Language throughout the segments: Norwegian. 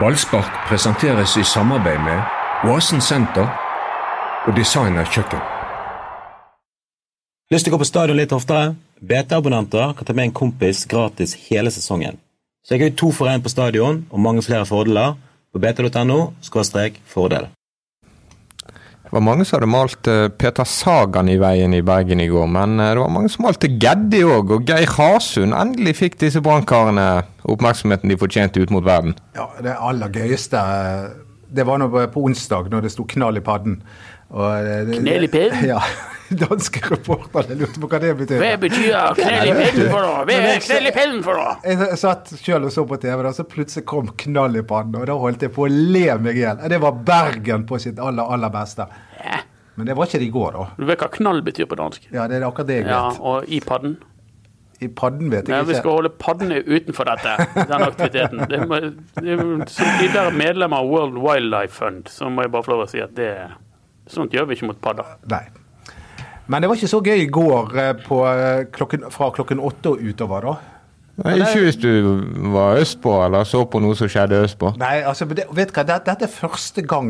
Ballspark presenteres i samarbeid med Oasen Senter og Designer Kjøkken. Lyst til å gå på stadion litt oftere? BT-abonnenter kan ta med en kompis gratis hele sesongen. Sjekk ut to for én på stadion og mange flere fordeler på bt.no fordel. Det var mange som hadde malt eh, Peter Sagan i veien i Bergen i går, men eh, det var mange som malte Geddi òg, og Geir Hasund. Endelig fikk disse brannkarene oppmerksomheten de fortjente ut mot verden. Ja, det aller gøyeste eh, Det var nå på onsdag, når det sto knall i padden. Og, eh, Knell i padden? Ja. Danske reportere lurte på hva det betyr. Hva betyr knell i pillen for noe? Hva er knell i pillen for noe? Jeg satt sjøl og så på TV, da, så plutselig kom knall i pannen. Og da holdt jeg på å le meg i hjel. Det var Bergen på sitt aller, aller beste. Ja. Men det var ikke det i går, da. Du vet hva knall betyr på dansk? Ja, Det er akkurat det jeg Ja, vet. og i padden. I padden vet Nei, jeg vi skal ikke. holde paddene utenfor dette, den aktiviteten. Det må, det, som de der medlemmer av World Wildlife Fund, så må jeg bare få lov å si at det Sånt gjør vi ikke mot padder. Nei. Men det var ikke så gøy i går eh, på eh, klokken, fra klokken åtte og utover, da. Nei, Ikke hvis du var østpå eller så på noe som skjedde østpå. Nei, altså, men det, vet du hva, det, dette er første gang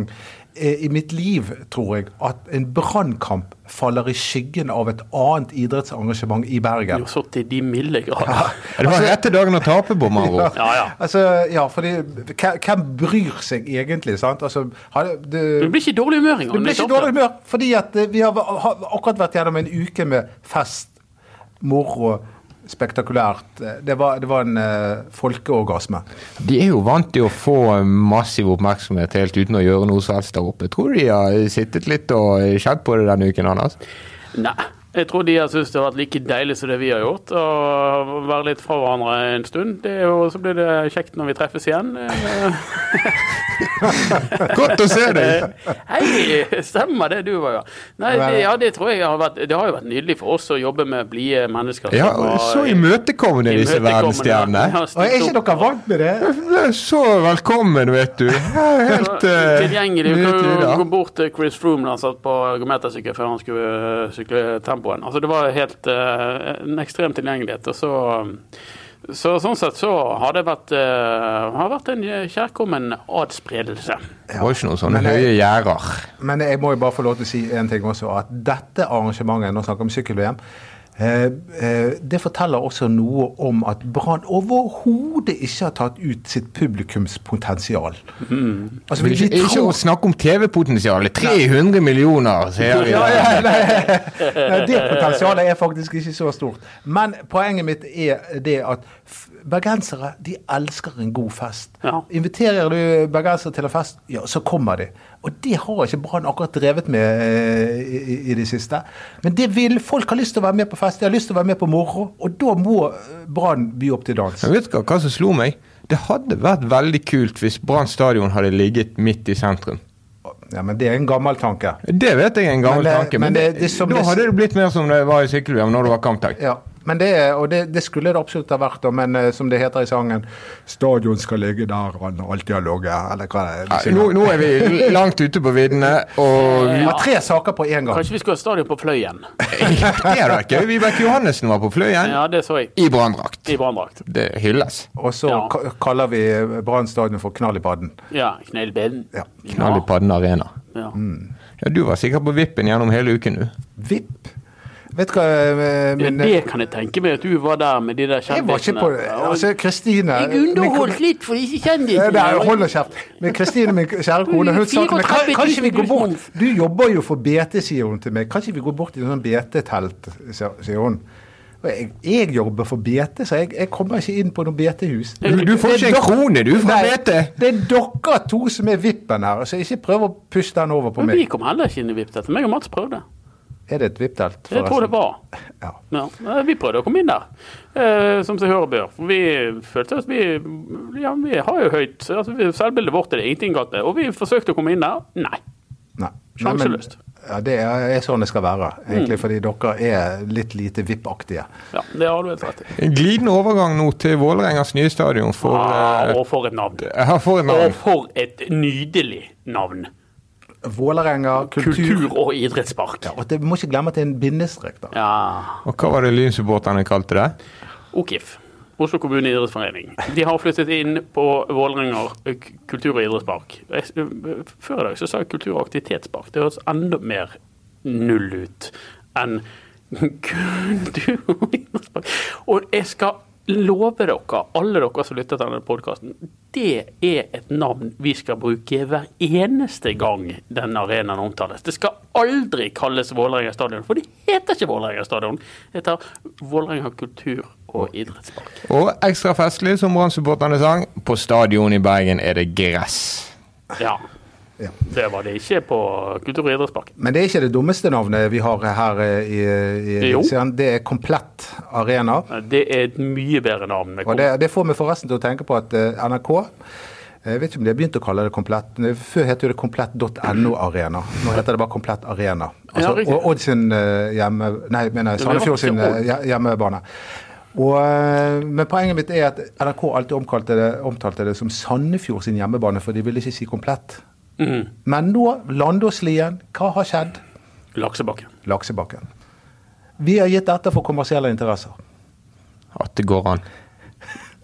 eh, i mitt liv, tror jeg, at en brannkamp faller i skyggen av et annet idrettsarrangement i Bergen. Jo, så til de milde grader. Det var rette dagen å tape på, med andre ord. Ja, ja. Altså, ja, fordi hva- Hvem bryr seg egentlig, sant? Altså, har det, Du det, blir ikke i dårlig humør det engang. blir litt ikke ofte. dårlig humør, fordi at eh, vi har, har akkurat vært gjennom en uke med fest, moro, spektakulært. Eh, Det var, det var en eh, folkeorgasme. De er jo vant til å få eh, massiv oppmerksomhet helt uten å gjøre noe som helst der oppe. Jeg tror de har sittet litt og kjent på det denne uken hans. Nei. Jeg tror de har syntes det har vært like deilig som det vi har gjort. Å være litt fra hverandre en stund. Det er jo, så blir det kjekt når vi treffes igjen. Eh, Godt å se deg! Hei, stemmer det du var, ja. Nei, det, ja, det tror jeg har vært Det har jo vært nydelig for oss å jobbe med blide mennesker. Ja, som var- så imøtekommende disse verdensstjernene. Ja, Og Er ikke dere vant med det? Så velkommen, vet du. Helt eh, Tilgjengelig. Du nytt kan lyd, jo ja. gå bort til Chris Froome da han satt på ergometersykkel før han skulle øh, sykle tempoen. Altså Det var helt øh, en ekstrem tilgjengelighet. og så... Så Sånn sett så har det vært, øh, har vært en øh, kjærkommen adspredelse. Det var ikke noen sånne Men jeg- høye gjerder. Men jeg må jo bare få lov til å si en ting også, at dette arrangementet, nå snakker vi om sykkel-VM, eh, eh, det forteller også noe om at Brann overhodet ikke har tatt ut sitt publikumspotensial. Altså, Mm. vi, vi Ikke, ikke å tror, snakke om TV-potensialet. 300 millioner, sier vi. Nei, det potensialet er faktisk ikke så stort. Men poenget mitt er det at f- bergensere de elsker en god fest. Ja. Inviterer du bergensere til en fest, ja, så kommer de. Og det har ikke Brann akkurat drevet med eh, i, i det siste. Men det vil, folk har lyst til å være med på fest, de har lyst til å være med på moro, og da må eh, Brann by opp til dans. Men vet du hva, hva som slo meg? Det hadde vært veldig kult hvis Brann stadion hadde ligget midt i sentrum. Ja, men det er en gammel tanke. Det vet jeg er en gammel Men det- tanke, men men, det- det som da det- hadde det blitt mer som det var i sykkel-VM når det var kampdag. Ja, men det, er- og det, det skulle det absolutt ha vært, da, men eh, som det heter i sangen Stadion skal ligge der han alltid har ligget, eller hva det Nei, er. Nå, nå er vi langt ute på viddene, og Det var tre saker på én gang. Kanskje vi skulle ha stadion på Fløyen? det hadde vært gøy. Vibeke Johannessen var på Fløyen Ja, det så jeg. i branndrakt. I branndrakt. Det hylles. Og så Ja. ka- kaller vi eh, Brann stadion for Knall i padden. Ja, knell ben. Ja. Knall i padden arena. Ja. Mm. Ja, du var sikkert på vippen gjennom hele uken, du. Vipp. Vet du hva eh, Ja, min det kan jeg tenke meg, at du var der med de der Jeg var ikke kjendisene. på Altså, Kristine min kone- litt for disse Nei, kjendisene. nei, hold nå kjeft. Men Kristine, min kjære kone, hun sa til meg kan, 34 000 kan ikke vi gå bort? kroner. Du jobber jo for BT, sier hun til meg. Kan ikke vi gå bort i sånn BT-telt, sier sier hun. Og Jeg, jeg jobber for BT, så jeg, jeg kommer ikke inn på noe BT-hus. Du, du får ikke en krone, du, fra Nei, BT! Det er dere to som er vippen her, så ikke prøv å pusse den over på Men vi meg. kom heller ikke inn i VIP-teltet. Meg og Mats prøvde. Er det et vipptelt, Jeg tror det var. Ja. Ja, eh, vi prøvde å komme inn der, eh, som seg hør og bør. Vi følte at vi Ja, vi har jo høyt altså, vi- Selvbildet vårt er det ingenting galt med. Og vi forsøkte å komme inn der. Nei. Nei. Sjanseløst. Nei, men- Ja, det er, er sånn det skal være, egentlig, fordi dere er litt lite VIP-aktige. Ja, det har du helt rett i. En glidende overgang nå til Vålerengas nye stadion for Ah, eh, og for et navn. ja, for en Og navn. for et nydelig navn. Vålerenga, kultur, Kultur- og idrettspark. Ja, Og det må ikke glemme at det er en bindestrek, da. Ja. Og hva var det Lynsupporterne kalte det? OKIF. Oslo kommune idrettsforening. De har flyttet inn på Vålerenga kultur- og idrettspark. Jeg s- Før i dag så sa jeg kultur- og aktivitetspark. Det høres enda mer null ut enn kultur- og idrettspark. Og jeg skal love dere, alle dere som lytter til denne podkasten, det er et navn vi skal bruke hver eneste gang den arenaen omtales. Det skal aldri kalles Vålerenga stadion, for det heter ikke Vålerenga stadion. Det heter Vålerenga kultur- og idrettspark. Og ekstra festlig, som Brann-supporterne sang, på stadion i Bergen er det gress. Ja. Ja. Det var det ikke på Kultur- og idrettsparken. Men det er ikke det dummeste navnet vi har her eh, i, i Jo. serien. Det er Komplett Arena. Det er et mye bedre navn. Med Og det, det får meg forresten til å tenke på at eh, NRK eh, jeg vet ikke om de har begynt å kalle det Komplett. Før het jo det komplett.no Arena. Nå heter det bare Komplett Arena. Altså, Ja, riktig. og Odd sin eh, hjemme... Nei, mener jeg, Ja, men det var Sandefjord sin ikke Odd. eh, hje- hjemmebane. Og, eh, men poenget mitt er at NRK alltid omkalte det, omtalte det som Sandefjord sin hjemmebane, for de ville ikke si Komplett. Mm. Men nå, Landåslien, hva har skjedd? Laksebakken. Laksebakken. Vi har gitt etter for kommersielle interesser. At det går an.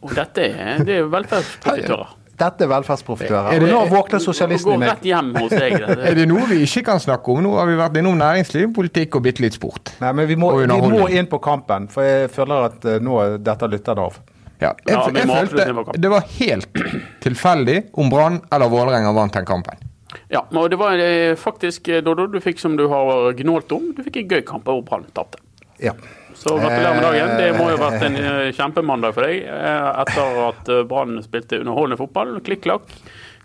Og dette er, det er velferdsprofitører. Dette er velferdsprofitører. Er Og det- nå våkner Går sosialisten i meg. rett hjem hos deg. det. Er det noe vi ikke kan snakke om? Nå har vi vært innom næringsliv, politikk og bitte litt sport. Nei, men vi må, Og vi må underholdning. inn på kampen, for jeg føler at eh, nå er dette lytter det av. Ja, jeg, Ja, vi jeg må absolutt inn på følte kampen. det var helt tilfeldig om Brann eller Vålerenga vant den kampen. Ja, og det var eh, faktisk eh, Doddo, du fikk som du har eh, gnålt om, du fikk en gøy kamp hvor Brann tapte. Ja. Så gratulerer med dagen. Det må jo ha vært en eh, kjempemandag for deg eh, etter at eh, Brann spilte underholdende fotball. Klikk-klakk,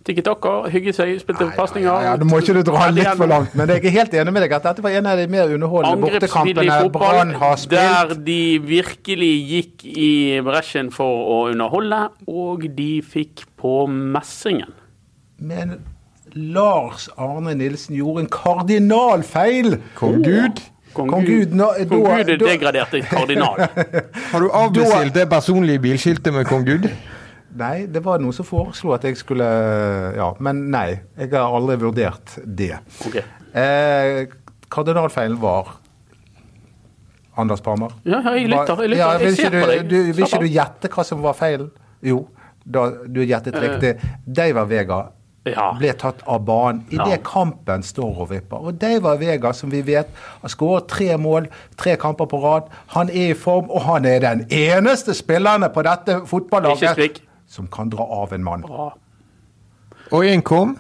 tikki-takka, hygge seg, spilte pasninger. Ja, du må ikke du dra litt for langt, men jeg er helt enig med deg at dette var en av de mer underholdende Angrepsspill i bortekampene Brann har fotball der spilt. de virkelig gikk i bresjen for å underholde, og de fikk på messingen. Men Lars Arne Nilsen gjorde en kardinalfeil! Kong Gud, Kong, Kong Gud, Gud, nå- da- Kong Gud er da- degradert til kardinal. har du avbestilt det personlige bilskiltet med kong Gud? Nei, det var noen som foreslo at jeg skulle Ja, men nei. Jeg har aldri vurdert det. Ok. Eh, kardinalfeilen var Anders Palmer. Ja, ja, jeg lytter. Jeg, lytter. Ja, vil jeg ser ikke på du, deg. Du, vil ikke Slapp du av. gjette hva som var feilen? Jo, da, du gjettet riktig. Deiva Vega Eh. Ja. ble tatt av banen Ja. idet kampen står og vipper. Og Deiva Vega, som vi vet, har skåret tre mål, tre kamper på rad. Han er i form, og han er den eneste spillerne på dette Ikke fotballaget skrik. som kan dra av en mann. Bra. Og inn kom.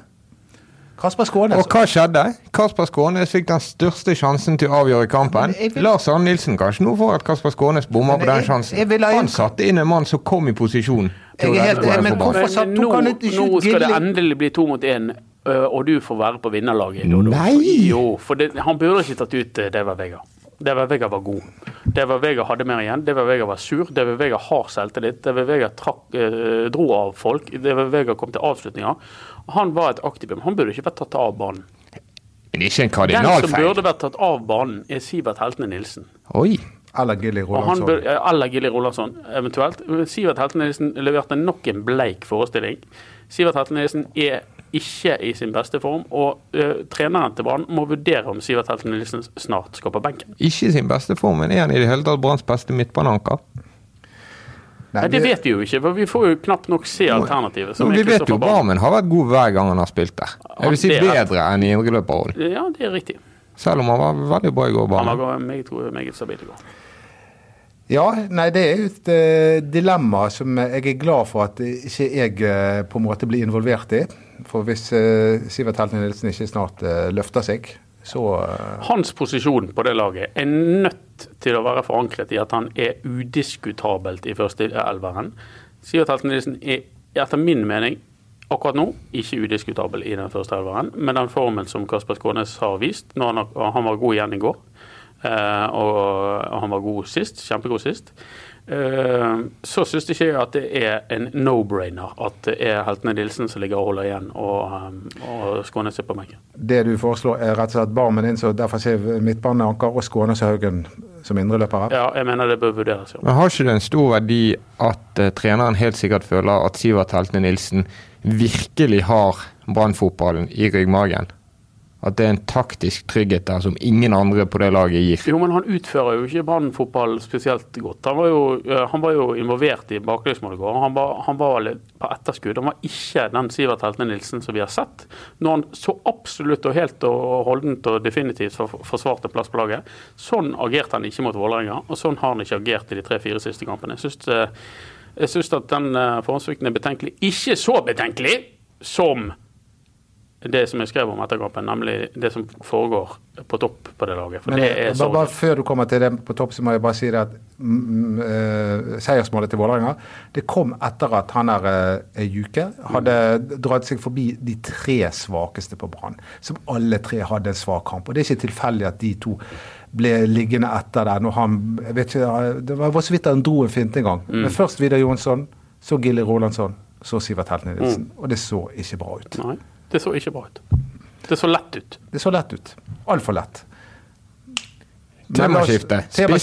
Kasper Skånes. Og hva skjedde? Kasper Skånes fikk den største sjansen til å avgjøre kampen. Men jeg vil- Lars Arne Nilsen kanskje nå får at Kasper Skånes bommer Men på den jeg- sjansen. jeg vil ha- Han satte inn en mann som kom i posisjon. til å Jeg er helt redde enig, men Brann. hvorfor satt- nå, tok han ut i nå skyt- skal det Gilli? endelig bli to mot én, øh, og du får være på vinnerlaget. Dodo. Nei! Jo, for det, han burde ikke tatt ut øh, Deva Vega. Deva Vega var god. Deva Vega hadde mer igjen. Deva Vega var sur. Deva Vega har selvtillit. Deva Vega trakk, øh, dro av folk. Deva Vega kom til avslutninger. Han var et aktivum. Han burde ikke vært tatt av banen. Men ikke en Den som kardinalfeil. burde vært tatt av banen, er Sivert Heltene Nilsen. Oi. Eller Gilly Og han Rolandsson. bør, eller Gilly Rolandsson, eventuelt. Sivert Heltenesen leverte nok en bleik forestilling. Sivert Heltenesen er ikke i sin beste form, og eh, treneren til Brann må vurdere om Sivert Heltenesen snart skal på benken. Ikke i sin beste form, men er han i det hele tatt Branns beste midtbananker? Nei, Nei, det vi- vet vi jo ikke, for vi får jo knapt nok se alternativet. som Jo, er vi vet Kristoffer jo Barmen. Barmen har vært god hver gang han har spilt der. Jeg vil si det er rett. bedre enn i indreløperrollen. Ja, det er riktig. Selv om han var veldig bra i går, Han Barmen. var meget, god- meget stabil i går. Ja, nei, det er jo et eh, dilemma som jeg er glad for at ikke jeg eh, på en måte blir involvert i. For hvis eh, Sivert Helten Nilsen ikke snart eh, løfter seg, så eh, Hans posisjon på det laget er nødt til å være forankret i at han er udiskutabelt i førsteelveren. Sivert Helten Nilsen er etter min mening akkurat nå ikke udiskutabel i den første elveren, men den formen som Kasper Skånes har vist når han, har- han var god igjen i går, eh, og, og han var god sist, kjempegod sist, eh, så syns ikke jeg at det er en no-brainer at det er Heltene Nilsen som ligger og holder igjen, og, eh, og Skånes er på benken. det du foreslår er rett og slett Barmen inn, så derfor ser vi midtbaneanker og Skånes og Haugen som indreløpere. Ja, jeg mener det bør vurderes. Ja. Men har ikke det en stor verdi at eh, treneren helt sikkert føler at Sivert Heltene Nilsen virkelig har Brann-fotballen i ryggmargen? At det er en taktisk trygghet der som ingen andre på det laget gir. Jo, men han utfører jo ikke Brann-fotball spesielt godt. Han var jo, eh, han var jo involvert i baklengsmålet i går. Han var, han var litt på etterskudd. Han var ikke den Sivert Helte Nilsen som vi har sett. Når han så absolutt og helt og holdent og definitivt for- forsvarte en plass på laget, sånn agerte han ikke mot Vålerenga, og sånn har han ikke agert i de tre-fire siste kampene. Jeg synes, eh, jeg syns at den eh, forhåndssvikten er betenkelig. Ikke så betenkelig som det som jeg skrev om etter kampen, nemlig det som foregår på topp på det laget. For Men det er eh, bare, sorg. bare før du kommer til det på topp, så må jeg bare si det at mm, eh, seiersmålet til Vålerenga det kom etter at han der eh, Juke hadde dratt seg forbi de tre svakeste på Brann. Som alle tre hadde en svak kamp. Og det er ikke tilfeldig at de to ble liggende etter der når han jeg vet ikke, eh, Det var så vidt han dro en finte en gang. Mm. Men først Vidar Jonsson, så Gilly Rolandsson, så Sivert Helten Nilsen. Mm. Og det så ikke bra ut. Nei, det så ikke bra ut. Det så lett ut. Det så lett ut. Altfor lett. Men la oss- Temaskifte. temaskifte.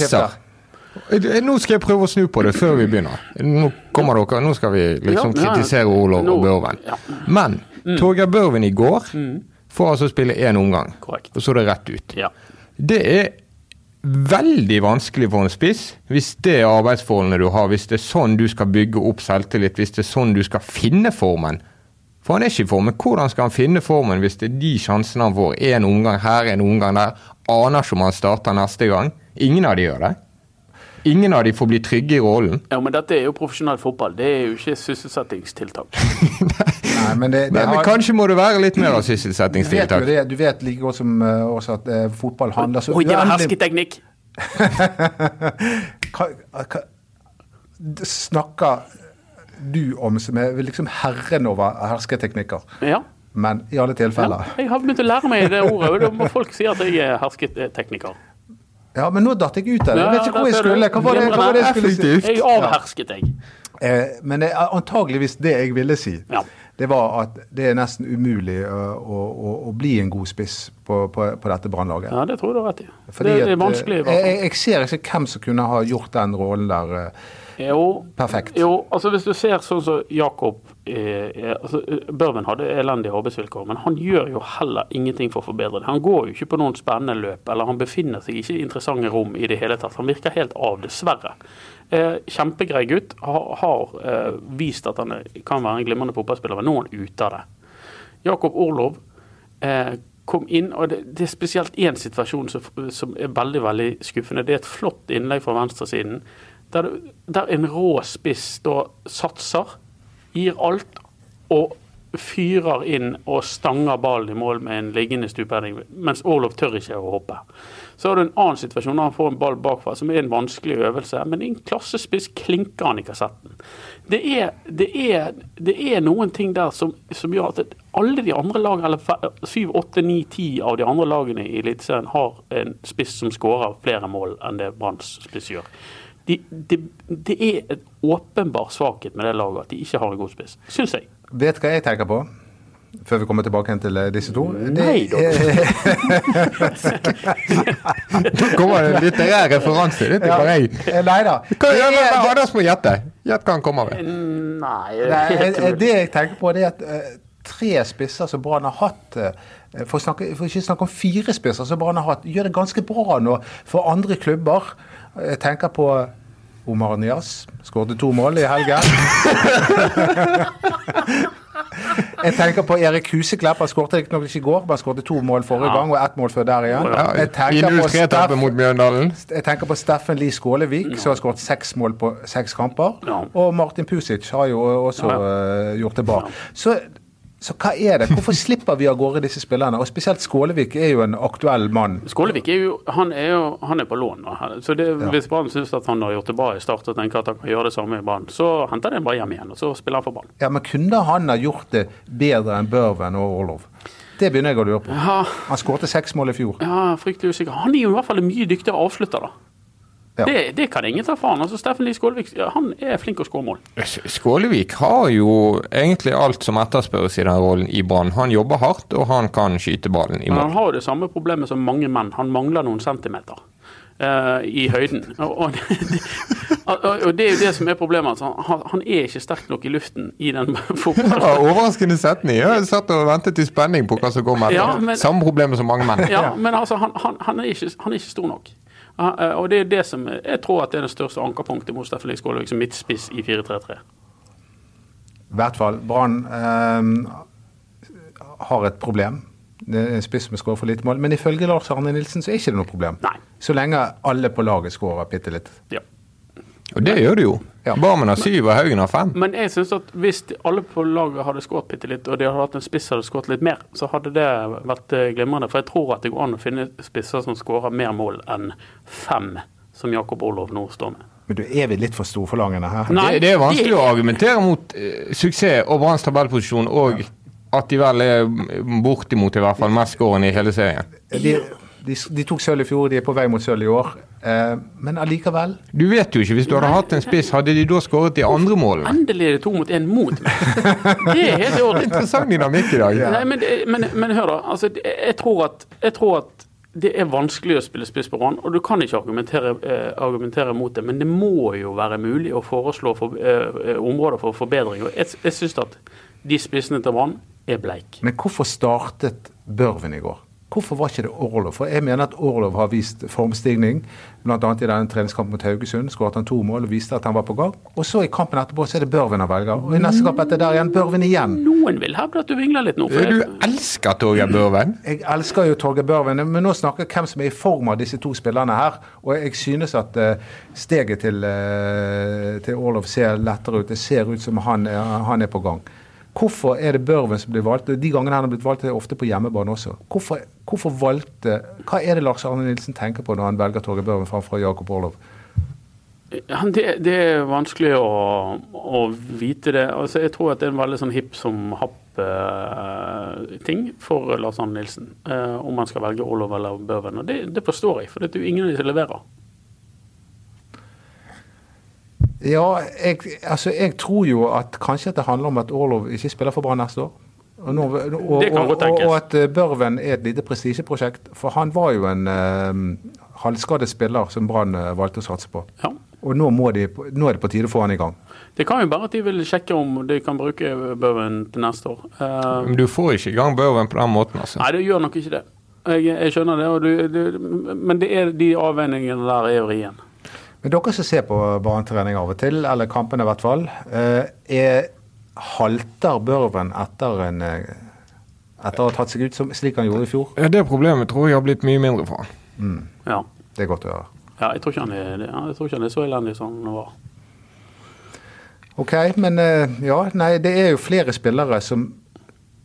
Spisser. Eh, Nå skal jeg prøve å snu på det før vi begynner. Nå kommer dere, nå skal vi liksom Ja, ja, ja. kritisere Olav Nå- og Børven. ja. Mm. Men Torgeir Børven i går får altså spille én omgang, Korrekt. og så er det rett ut. Ja. Det er veldig vanskelig for en spiss hvis det er arbeidsforholdene du har, hvis det er sånn du skal bygge opp selvtillit, hvis det er sånn du skal finne formen. For han er ikke i formen. Hvordan skal han finne formen hvis det er de sjansene han får? Én omgang her, en omgang der. Aner ikke om han starter neste gang. Ingen av de gjør det. Ingen av de får bli trygge i rollen. ja, men dette er jo profesjonell fotball. Det er jo ikke sysselsettingstiltak. Nei, men det, det Men, men har- kanskje må det være litt mer av Du vet jo sysselsettingstiltak. det, du vet like godt som eh, også at eh, fotball handler så Oi, det var uendelig- hersketeknikk! Hva- hva- d- Snakker du om som er liksom herren over hersketeknikker, Ja. men i alle ja. tilfeller. Jeg har begynt å lære meg det ordet. og da må Folk si at jeg er hersketekniker. Ja, men nå datt jeg ut av det. Jeg Ja, vet ikke hvor der jeg ser du. skulle. Hva var det, hva var det jeg skulle si? Effektivt. Jeg avhersket, jeg. Eh, Men det er antageligvis det jeg ville si. Ja. Det var at det er nesten umulig eh, å, å, å bli en god spiss på, på, på dette brannlaget. Ja, det tror jeg du har rett i. Fordi Det at, er eh, vanskelig. i hvert jeg, fall. jeg, jeg ser ikke hvem som kunne ha gjort den rollen der. eh. Jo, Perfekt. Jo, altså hvis du ser sånn som Jakob eh, eh, altså, eh, Børven hadde elendige arbeidsvilkår, men han gjør jo heller ingenting for å forbedre det. Han går jo ikke på noen spennende løp, eller han befinner seg ikke i interessante rom i det hele tatt. Han virker helt av, dessverre. Eh, kjempegrei gutt. Har, har eh, vist at han er- kan være en glimrende fotballspiller, men nå er han ute av det. Jakob Orlov eh, kom inn, og det, det er spesielt én situasjon som, som er veldig veldig skuffende. Det er et flott innlegg fra venstresiden, der, du- der en rå spiss da satser, gir alt og fyrer inn og stanger ballen i mål med en liggende stupheading, mens Orlov tør ikke å hoppe. Så har du en annen situasjon når han får en ball bakfra, som er en vanskelig øvelse, men i en klassespiss klinker han i kassetten. Det er, det er, det er noen ting der som, som gjør at alle de andre lagene, eller fe- syv, åtte, ni, ti av de andre lagene i Eliteserien har en spiss som skårer flere mål enn det Branns spiss gjør. De, det- det er et åpenbar svakhet med det laget at de ikke har en god spiss, syns jeg. Vet hva jeg tenker på? Før vi kommer tilbake igjen til eh, disse to. Nei, da. eh, Nå kommer det en litterær referanse. Det er ikke bare jeg. eh, nei da. Hva, ja, men, Det er- Anders må gjette. Gjett hva han kommer med. Nei, Nei, helt eh, eh, umulig. det jeg tenker på, det er at eh, tre spisser som Brann har hatt eh, for, å snakke, for ikke å snakke om fire spisser som Brann har hatt, gjør det ganske bra nå for andre klubber. Jeg tenker på Omar Nias. Skåret to mål i helgen. Jeg tenker på Erik Huseklepp. Han skåret riktignok ikke i går, men han skåret to mål forrige Ja. gang og ett mål før der igjen. Ja, Jeg I tenker på 0-3-tapet Steff- mot Mjøndalen. jeg tenker på Steffen Lie Skålevik, som har skåret seks mål på seks kamper. Ja. Og Martin Pusic har jo også Ja, eh, gjort det bra. Så, så hva er det? Hvorfor slipper vi av gårde disse spillerne? Og spesielt Skålevik er jo en aktuell mann. Skålevik er jo, han er jo han er på lån. nå. Så det, Hvis Brann syns at han har gjort det bra i start og tenker at han kan gjøre det samme i Brann, så henter de ham bare hjem igjen, og så spiller han for Brann. Ja, Men kunne han ha gjort det bedre enn Børven og Orlov? Det begynner jeg å lure på. Ja, Han skårte seks mål i fjor. ja, fryktelig usikker. Han er jo i hvert fall en mye dyktigere avslutter, da. Ja. Det, det kan ingen ta fra han. Altså, Steffen Lie Skålevik ja, han er flink å skåre mål. S- Skålevik har jo egentlig alt som etterspørres i den rollen i Brann. Han jobber hardt, og han kan skyte ballen i Men han mål. har jo det samme problemet som mange menn. Han mangler noen centimeter. eh, i høyden. Og, og, og, og det er jo det som er problemet. Altså. Han, han er ikke sterk nok i luften i den Det fotballen. var overraskende setning. Jeg satt og ventet i spenning på hva som kom etter. Ja, men- Samme problem som mange menn. Ja, men altså, han, han, han, er ikke, han er ikke stor nok. Han- eh, Og det er det som jeg tror at det er det største ankerpunktet mot Steffen Lie Skålevik som midtspiss i 4-3-3. I hvert fall. Brann eh, har et problem. Det er en spiss som skårer for lite mål. Men ifølge Lars Arne Nilsen så er ikke det noe problem. Nei. Så lenge alle på laget skårer bitte litt. Ja. Og det gjør det jo. Barmen har syv, og Haugen har fem. Men jeg synes at hvis de- alle på laget hadde skåret bitte litt, og de hadde hatt en spiss som hadde skåret litt mer, så hadde det vært eh, glimrende. For jeg tror at det går an å finne spisser som skårer mer mål enn fem, som Jakob Olov nå står med. Men du er vi litt for storforlangende her? Nei, det, det er vanskelig det- å argumentere mot eh, suksess og Branns tabellposisjon og at de vel er mm, bortimot i hvert fall mest skårende i hele serien. De, de, de tok sølv i fjor, de er på vei mot sølv i år. Eh, men allikevel Du vet jo ikke. Hvis du hadde hatt en spiss, hadde de da skåret de andre målene? Endelig er det to mot én mot meg. Det er helt i orden. Interessant dynamikk i dag. Nei, men, det- men, men hør da. Altså, det- jeg, tror at, jeg tror at det er vanskelig å spille spiss på Brann, og du kan ikke argumentere, eh, argumentere mot det. Men det må jo være mulig å foreslå for, eh, eh, områder for forbedring. Og jeg, jeg syns at de spissene til Brann er bleik. Men hvorfor startet Børven i går? Hvorfor var ikke det Orlov? For jeg mener at Orlov har vist formstigning, bl.a. i denne treningskampen mot Haugesund. Skåret han to mål og viste at han var på gang. Og så i kampen etterpå så er det Børven han velger. Og i neste kamp etter der igjen Børven igjen. Noen vil hevde at du vingler litt nå. For Du jeg, elsker Torgeir Børven. Jeg elsker jo Torgeir Børven, men nå snakker jeg hvem som er i form av disse to spillerne her. Og jeg synes at eh, steget til, eh, til Orlov ser lettere ut. Det ser ut som han, er- han er på gang. Hvorfor er det Børven som blir valgt? De gangene han har blitt valgt, er ofte på hjemmebane også. Hvorfor, hvorfor valgte Hva er det Lars Arne Nilsen tenker på når han velger Torgeir Børven framfor Jakob Orlov? Ja, men det, det er vanskelig å, å vite det. Altså, jeg tror at det er en veldig sånn hipp som happ-ting for Lars Arne Nilsen. eh, om han skal velge Olov eller Børven. Og det, det forstår jeg, for det er jo ingen av de som leverer. Ja, jeg, altså, jeg tror jo at kanskje at det handler om at Orlov ikke spiller for Brann neste år. Og, nå, og, Det kan og, og, godt tenkes. og at eh, Børven er et lite prestisjeprosjekt. For han var jo en eh, halvskadet spiller som Brann eh, valgte å satse på. Ja. Og nå, må de, nå er det på tide å få han i gang. Det kan jo være at de vil sjekke om de kan bruke Børven til neste år. Eh, Men du får ikke i gang Børven på den måten, altså. nei, det gjør nok ikke det. Jeg, jeg skjønner det, og du, du, men det er de avveiningene der er jo rien. Men dere som ser på banetrening av og til, eller kampene i hvert fall, eh, er, halter Børven etter, en, eh, etter å ha tatt seg ut som, slik han gjorde i fjor? Ja, det problemet tror jeg har blitt mye mindre fra. Ja. Det er godt å høre. ja jeg, tror ikke han er, jeg tror ikke han er så elendig som han var. Ok, men eh, ja, nei, det er jo flere spillere som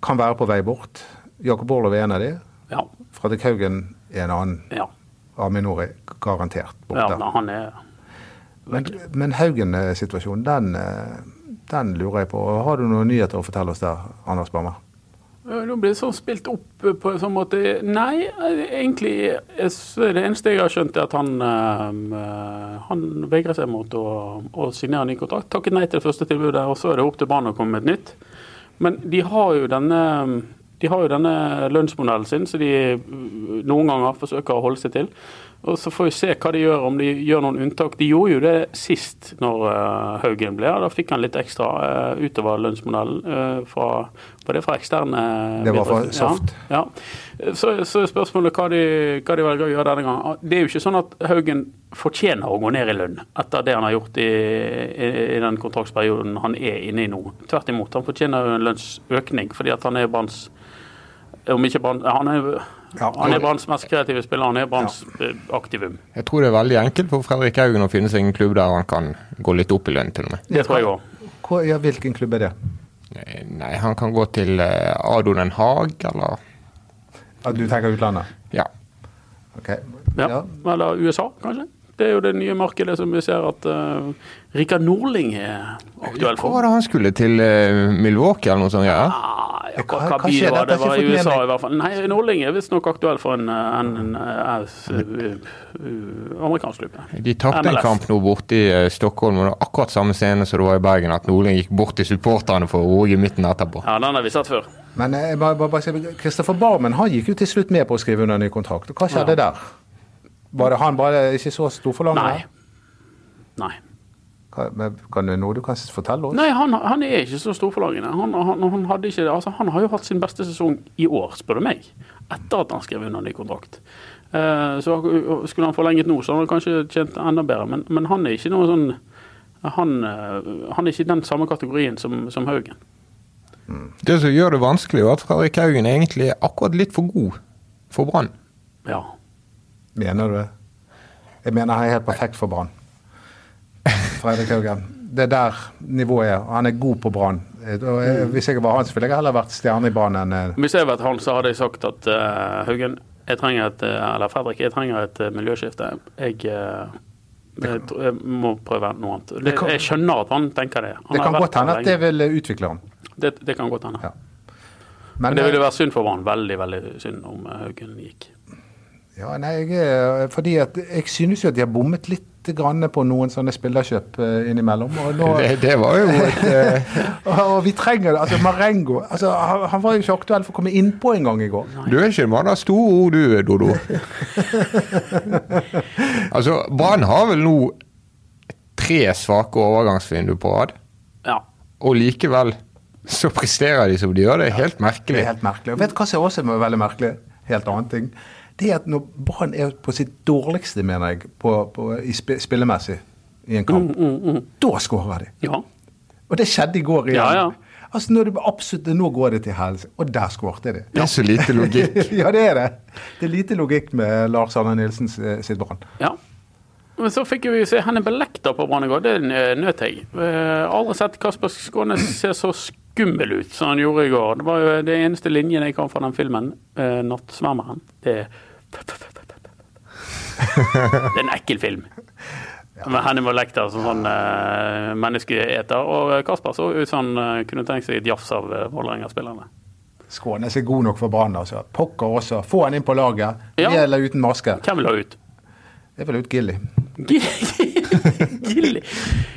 kan være på vei bort. Jakob Orlov er en av de. Ja. Fredrik Haugen er en annen. ja. Aminor er garantert ja borte. men han er men men Haugen-situasjonen, den, eh, den lurer jeg på. Har du noen nyheter å fortelle oss der, Anders Barmer? Ja, Nå blir det sånn spilt opp eh, på en sånn måte Nei, eh, egentlig eh, så er det eneste jeg har skjønt, er at han, eh, han vegrer seg mot å, å signere ny kontrakt. Takket nei til det første tilbudet, og så er det opp til Brann å komme med et nytt. Men de har jo denne ehm, de har jo denne lønnsmodellen sin, som de eh, noen ganger forsøker å holde seg til. Og Så får vi se hva de gjør, om de gjør noen unntak. De gjorde jo det sist, når eh, Haugen ble her. Da fikk han litt ekstra eh, utover lønnsmodellen. eh, fra, var det fra eksterne Det var fra Ja, Soft. Ja. Så, så er spørsmålet hva de, hva de velger å gjøre denne gangen. Det er jo ikke sånn at Haugen fortjener å gå ned i lønn etter det han har gjort i, i, i den kontraktsperioden han er inne i nå. Tvert imot. Han fortjener jo en lønnsøkning fordi at han er Branns om ikke Brann Han er, Ja, han er Branns mest kreative spiller. Han er Branns eh, aktivum. Jeg tror det er veldig enkelt for Fredrik Haugen å finne seg en klubb der han kan gå litt opp i lønn, til og med. Det tror jeg òg. Hvor, ja, hvilken klubb er det? Nei, han kan gå til eh, Ado Den Haag, eller At du tenker utlandet? Ja. Ok. Ja. Eller USA, kanskje. Det er jo det nye markedet som vi ser at eh, Rikard Nordling er Hva aktuell var for. det han skulle til eh, Milwaukee eller noe sånt? Ja. Ah, ja, Hva- hva, hva hva by skjer? var Dette det? har var jeg i ikke fått USA med meg. i hvert fall. Nei, Nordling er visstnok aktuell for en, eh, en, eh, eh, eh, amerikansk klubb. De tapte en MLS. kamp nå borte i eh, Stockholm, og det var akkurat samme scene som det var i Bergen. At Nordling gikk bort til supporterne for å roe i midten etterpå. Ja, den har vi sett før. Men eh, jeg bare, bare, bare, sier, Christopher Barmen han gikk jo til slutt med på å skrive under en ny kontrakt. og Hva skjedde der? Var det han bare ikke så storforlangende? Nei. Nei. Hva- men Kan du noe du kan fortelle oss? Nei, han, han er ikke så storforlangende. Han, han, han, hadde ikke, det. altså, han har jo hatt sin beste sesong i år, spør du meg. Etter at han skrev under ny kontrakt. Eh, så skulle han forlenget nå, så han hadde kanskje tjent enda bedre. Men, men han er ikke noe sånn han, eh, han er ikke i den samme kategorien som, som Haugen. Det som gjør det vanskelig, er at Fredrik Haugen egentlig er akkurat litt for god for Brann. Ja. Mener du det? Jeg mener han er helt perfekt for Brann. Fredrik Haugen. Det er der nivået er. Han er god på Brann. Eh, og jeg- Mm. Hvis jeg var han, så ville jeg heller vært stjerne i Brann enn eh, Hvis jeg hadde vært han, så hadde jeg sagt at eh, Haugen, jeg trenger et, eh, eller Fredrik, jeg trenger et eh, miljøskifte. Jeg, eh, jeg, tr- jeg må prøve noe annet. Det, kan- jeg skjønner at han tenker det. Han Det har kan vært godt hende der at lenge. det vil eh, utvikle eh, han. Det, det kan godt hende. Ja. Men det ville vært synd for Brann. Veldig, veldig synd om eh, Haugen gikk. Ja, nei, jeg, er- fordi at jeg synes jo at de har bommet litt grann på noen sånne spillerkjøp eh, innimellom. Og, nå, Det, det var jo et eh, og vi trenger det. Altså, Marengo altså, han, han var jo ikke aktuell for å komme innpå en gang i går. Du er ikke bare store ord, du, Dodo. altså, Brann har vel nå tre svake overgangsvindu på rad, Ja. og likevel så presterer de som de gjør. Det er helt Det merkelig. er helt merkelig. Og vet du hva som også er veldig merkelig? Helt annen ting. Det er at når Brann er på sitt dårligste, mener jeg, på, på, i spi- spillemessig i en kamp, da skårer de. ja. Og det skjedde i går igjen. Mm. Ja, ja. Altså, når de absolutt, nå går det til helse, og der skårte de. Det er så lite logikk. ja, det er det. Det er lite logikk med Lars Arne Nilsens eh, sitt brann. ja. Men så fikk vi jo se Henne Belekta på Brann i går. Det eh, nøt jeg. Eh, aldri sett Kasper Skånes se så skummel ut som han gjorde i går. Det var jo den eneste linjen jeg kan fra den filmen, eh, 'Nattsvermeren'. Det er Det er en ekkel film. Med Henning Molekter som sånn eh, menneskeeter. Og Kasper så ut som han eh, kunne tenkt seg et jafs av eh, Vålerenga-spillerne. Skånes er god nok for Brann, altså. Pokker også. Få han inn på laget. Ja. Med eller uten maske. Hvem vil ha ut? Jeg vil ut Gilly. Gilly.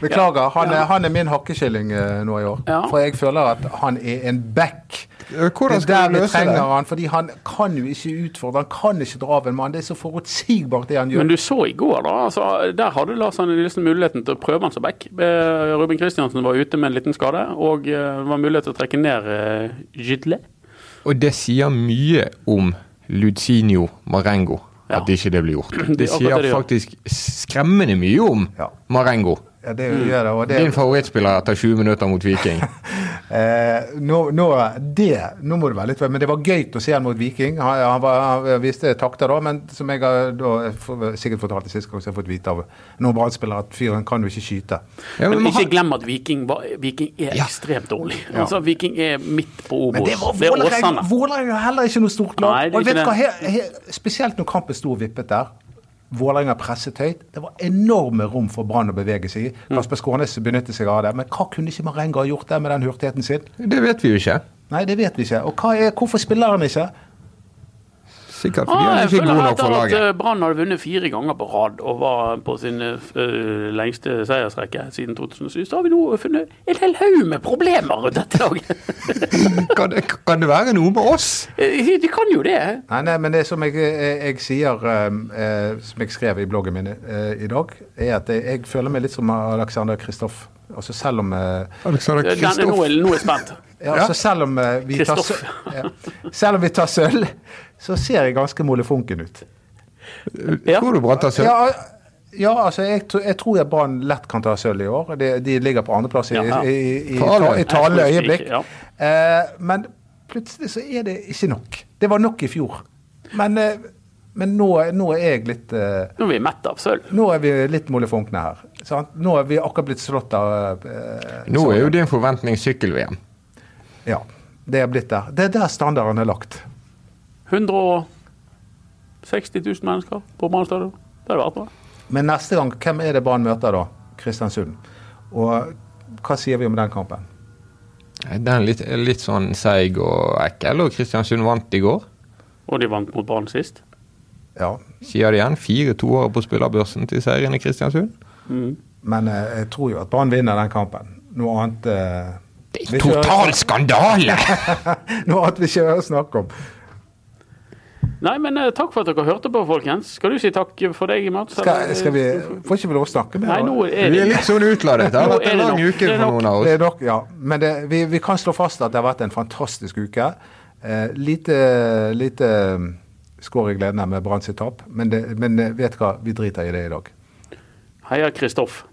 Beklager, han, er, han er min hakkekylling eh, nå i år. Ja. For jeg føler at han er en back. Eh, Hvordan det er skal der du vi løse det? trenger han, fordi han kan jo ikke utfordre, han kan ikke dra av en mann. Det er så forutsigbart det han gjør. Men du så i går, da. Altså, der hadde Lars Arne Nilsen muligheten til å prøve han som back. Eh, Ruben Kristiansen var ute med en liten skade, og eh, det var mulighet til å trekke ned eh, Gidle. Og det sier mye om Lucinio Marengo Ja. at ikke det blir gjort. Det Det er akkurat det sier det gjør. faktisk skremmende mye om Ja. Marengo. Ja, det gjør det, og det, Din favorittspiller etter 20 minutter mot Viking. Eh, nå, nå, det, nå må du være litt Men det var gøy å se han mot Viking. Han, han, var, han viste takter da, men som jeg har da, eh, for- sikkert fortalte sist gang, så har jeg fått vite av noen Brann-spillere at fyren kan jo ikke skyte. Ja, Men men ikke han- glem at Viking, var, Viking er ekstremt dårlig. Altså, Viking er midt på Men Obos. det var Vålerenga Vålerenga er heller ikke noe stort lag. Nei, det er og vet ikke du hva, det. her, her, Spesielt når kampen sto og vippet der. Vålerenga presset høyt. Det var enorme rom for Brann å bevege seg i. Mm. Kasper Skånes benyttet seg av det. Men hva kunne ikke Marenga ha gjort der med den hurtigheten sin? Det vet vi jo ikke. Nei, det vet vi ikke. Og hva er, hvorfor spiller han ikke? Sikkert fordi Ah, han jeg ikke er god føler nok for etter at laget. eh, Brann hadde vunnet fire ganger på rad og var på sin eh, f- eh, lengste seiersrekke siden 2007, så har vi nå funnet en hel haug med problemer rundt dette laget. Kan det, kan det være noe med oss? Eh, De kan jo det. Nei, nei, men det som jeg, jeg, jeg sier, ehm, eh, som jeg skrev i bloggen min eh, i dag, er at jeg, jeg føler meg litt som Alexander Kristoff. Altså selv om, eh, Alexander Eh, denne- Nå Kristoff. er nå er jeg spent. ja, altså selv om, eh, vi tar, Kristoff. sø- ja, selv om vi tar sølv, så ser jeg ganske molefonken ut. Ja. Tror du Brann tar sølv? Ja, ja altså jeg, tro- jeg tror jeg Brann lett kan ta sølv i år. De, de ligger på andreplass i, Ja, ja. i, i, i, For all ta- del. i talende øyeblikk. Ja. Eh, men plutselig så er det ikke nok. Det var nok i fjor. Men, eh, men nå, nå er jeg litt eh, Nå er vi mett av sølv. Nå er vi litt molefonkne her. Sant? Nå er vi akkurat blitt slått av eh, Nå er jo din forventning sykkel-VM. Ja. Det er blitt der. Det er der standarden er lagt. 160 000 mennesker på Brann stadion. Det hadde vært noe. Men neste gang, hvem er det Brann møter da? Kristiansund. Og hva sier vi om den kampen? Den er litt, litt sånn seig og ekkel, og Kristiansund vant i går. Og de vant mot Brann sist. Ja. Sier det igjen, fire toere på spillerbørsen til serien i Kristiansund. Men eh, jeg tror jo at Brann vinner den kampen. Noe annet eh, Det vi er ikke total skandale! hører- Noe annet vi ikke hører snakk om. Nei, men eh, takk for at dere hørte på, folkens. Skal du si takk for deg, Mats? Skal, eller? skal vi, får ikke vi lov å snakke mer? Nei, nå er Vi det er litt sånn utladet. Det har Nå vært er en det lang nok. uke Det er for nok. noen av Det oss. er nok, ja. Men det, vi, vi kan slå fast at det har vært en fantastisk uke. Eh, lite lite skår eh, i gleden her med Brann sitt tap, men, det- men eh, vet hva, vi driter i det i dag. Heia Kristoff.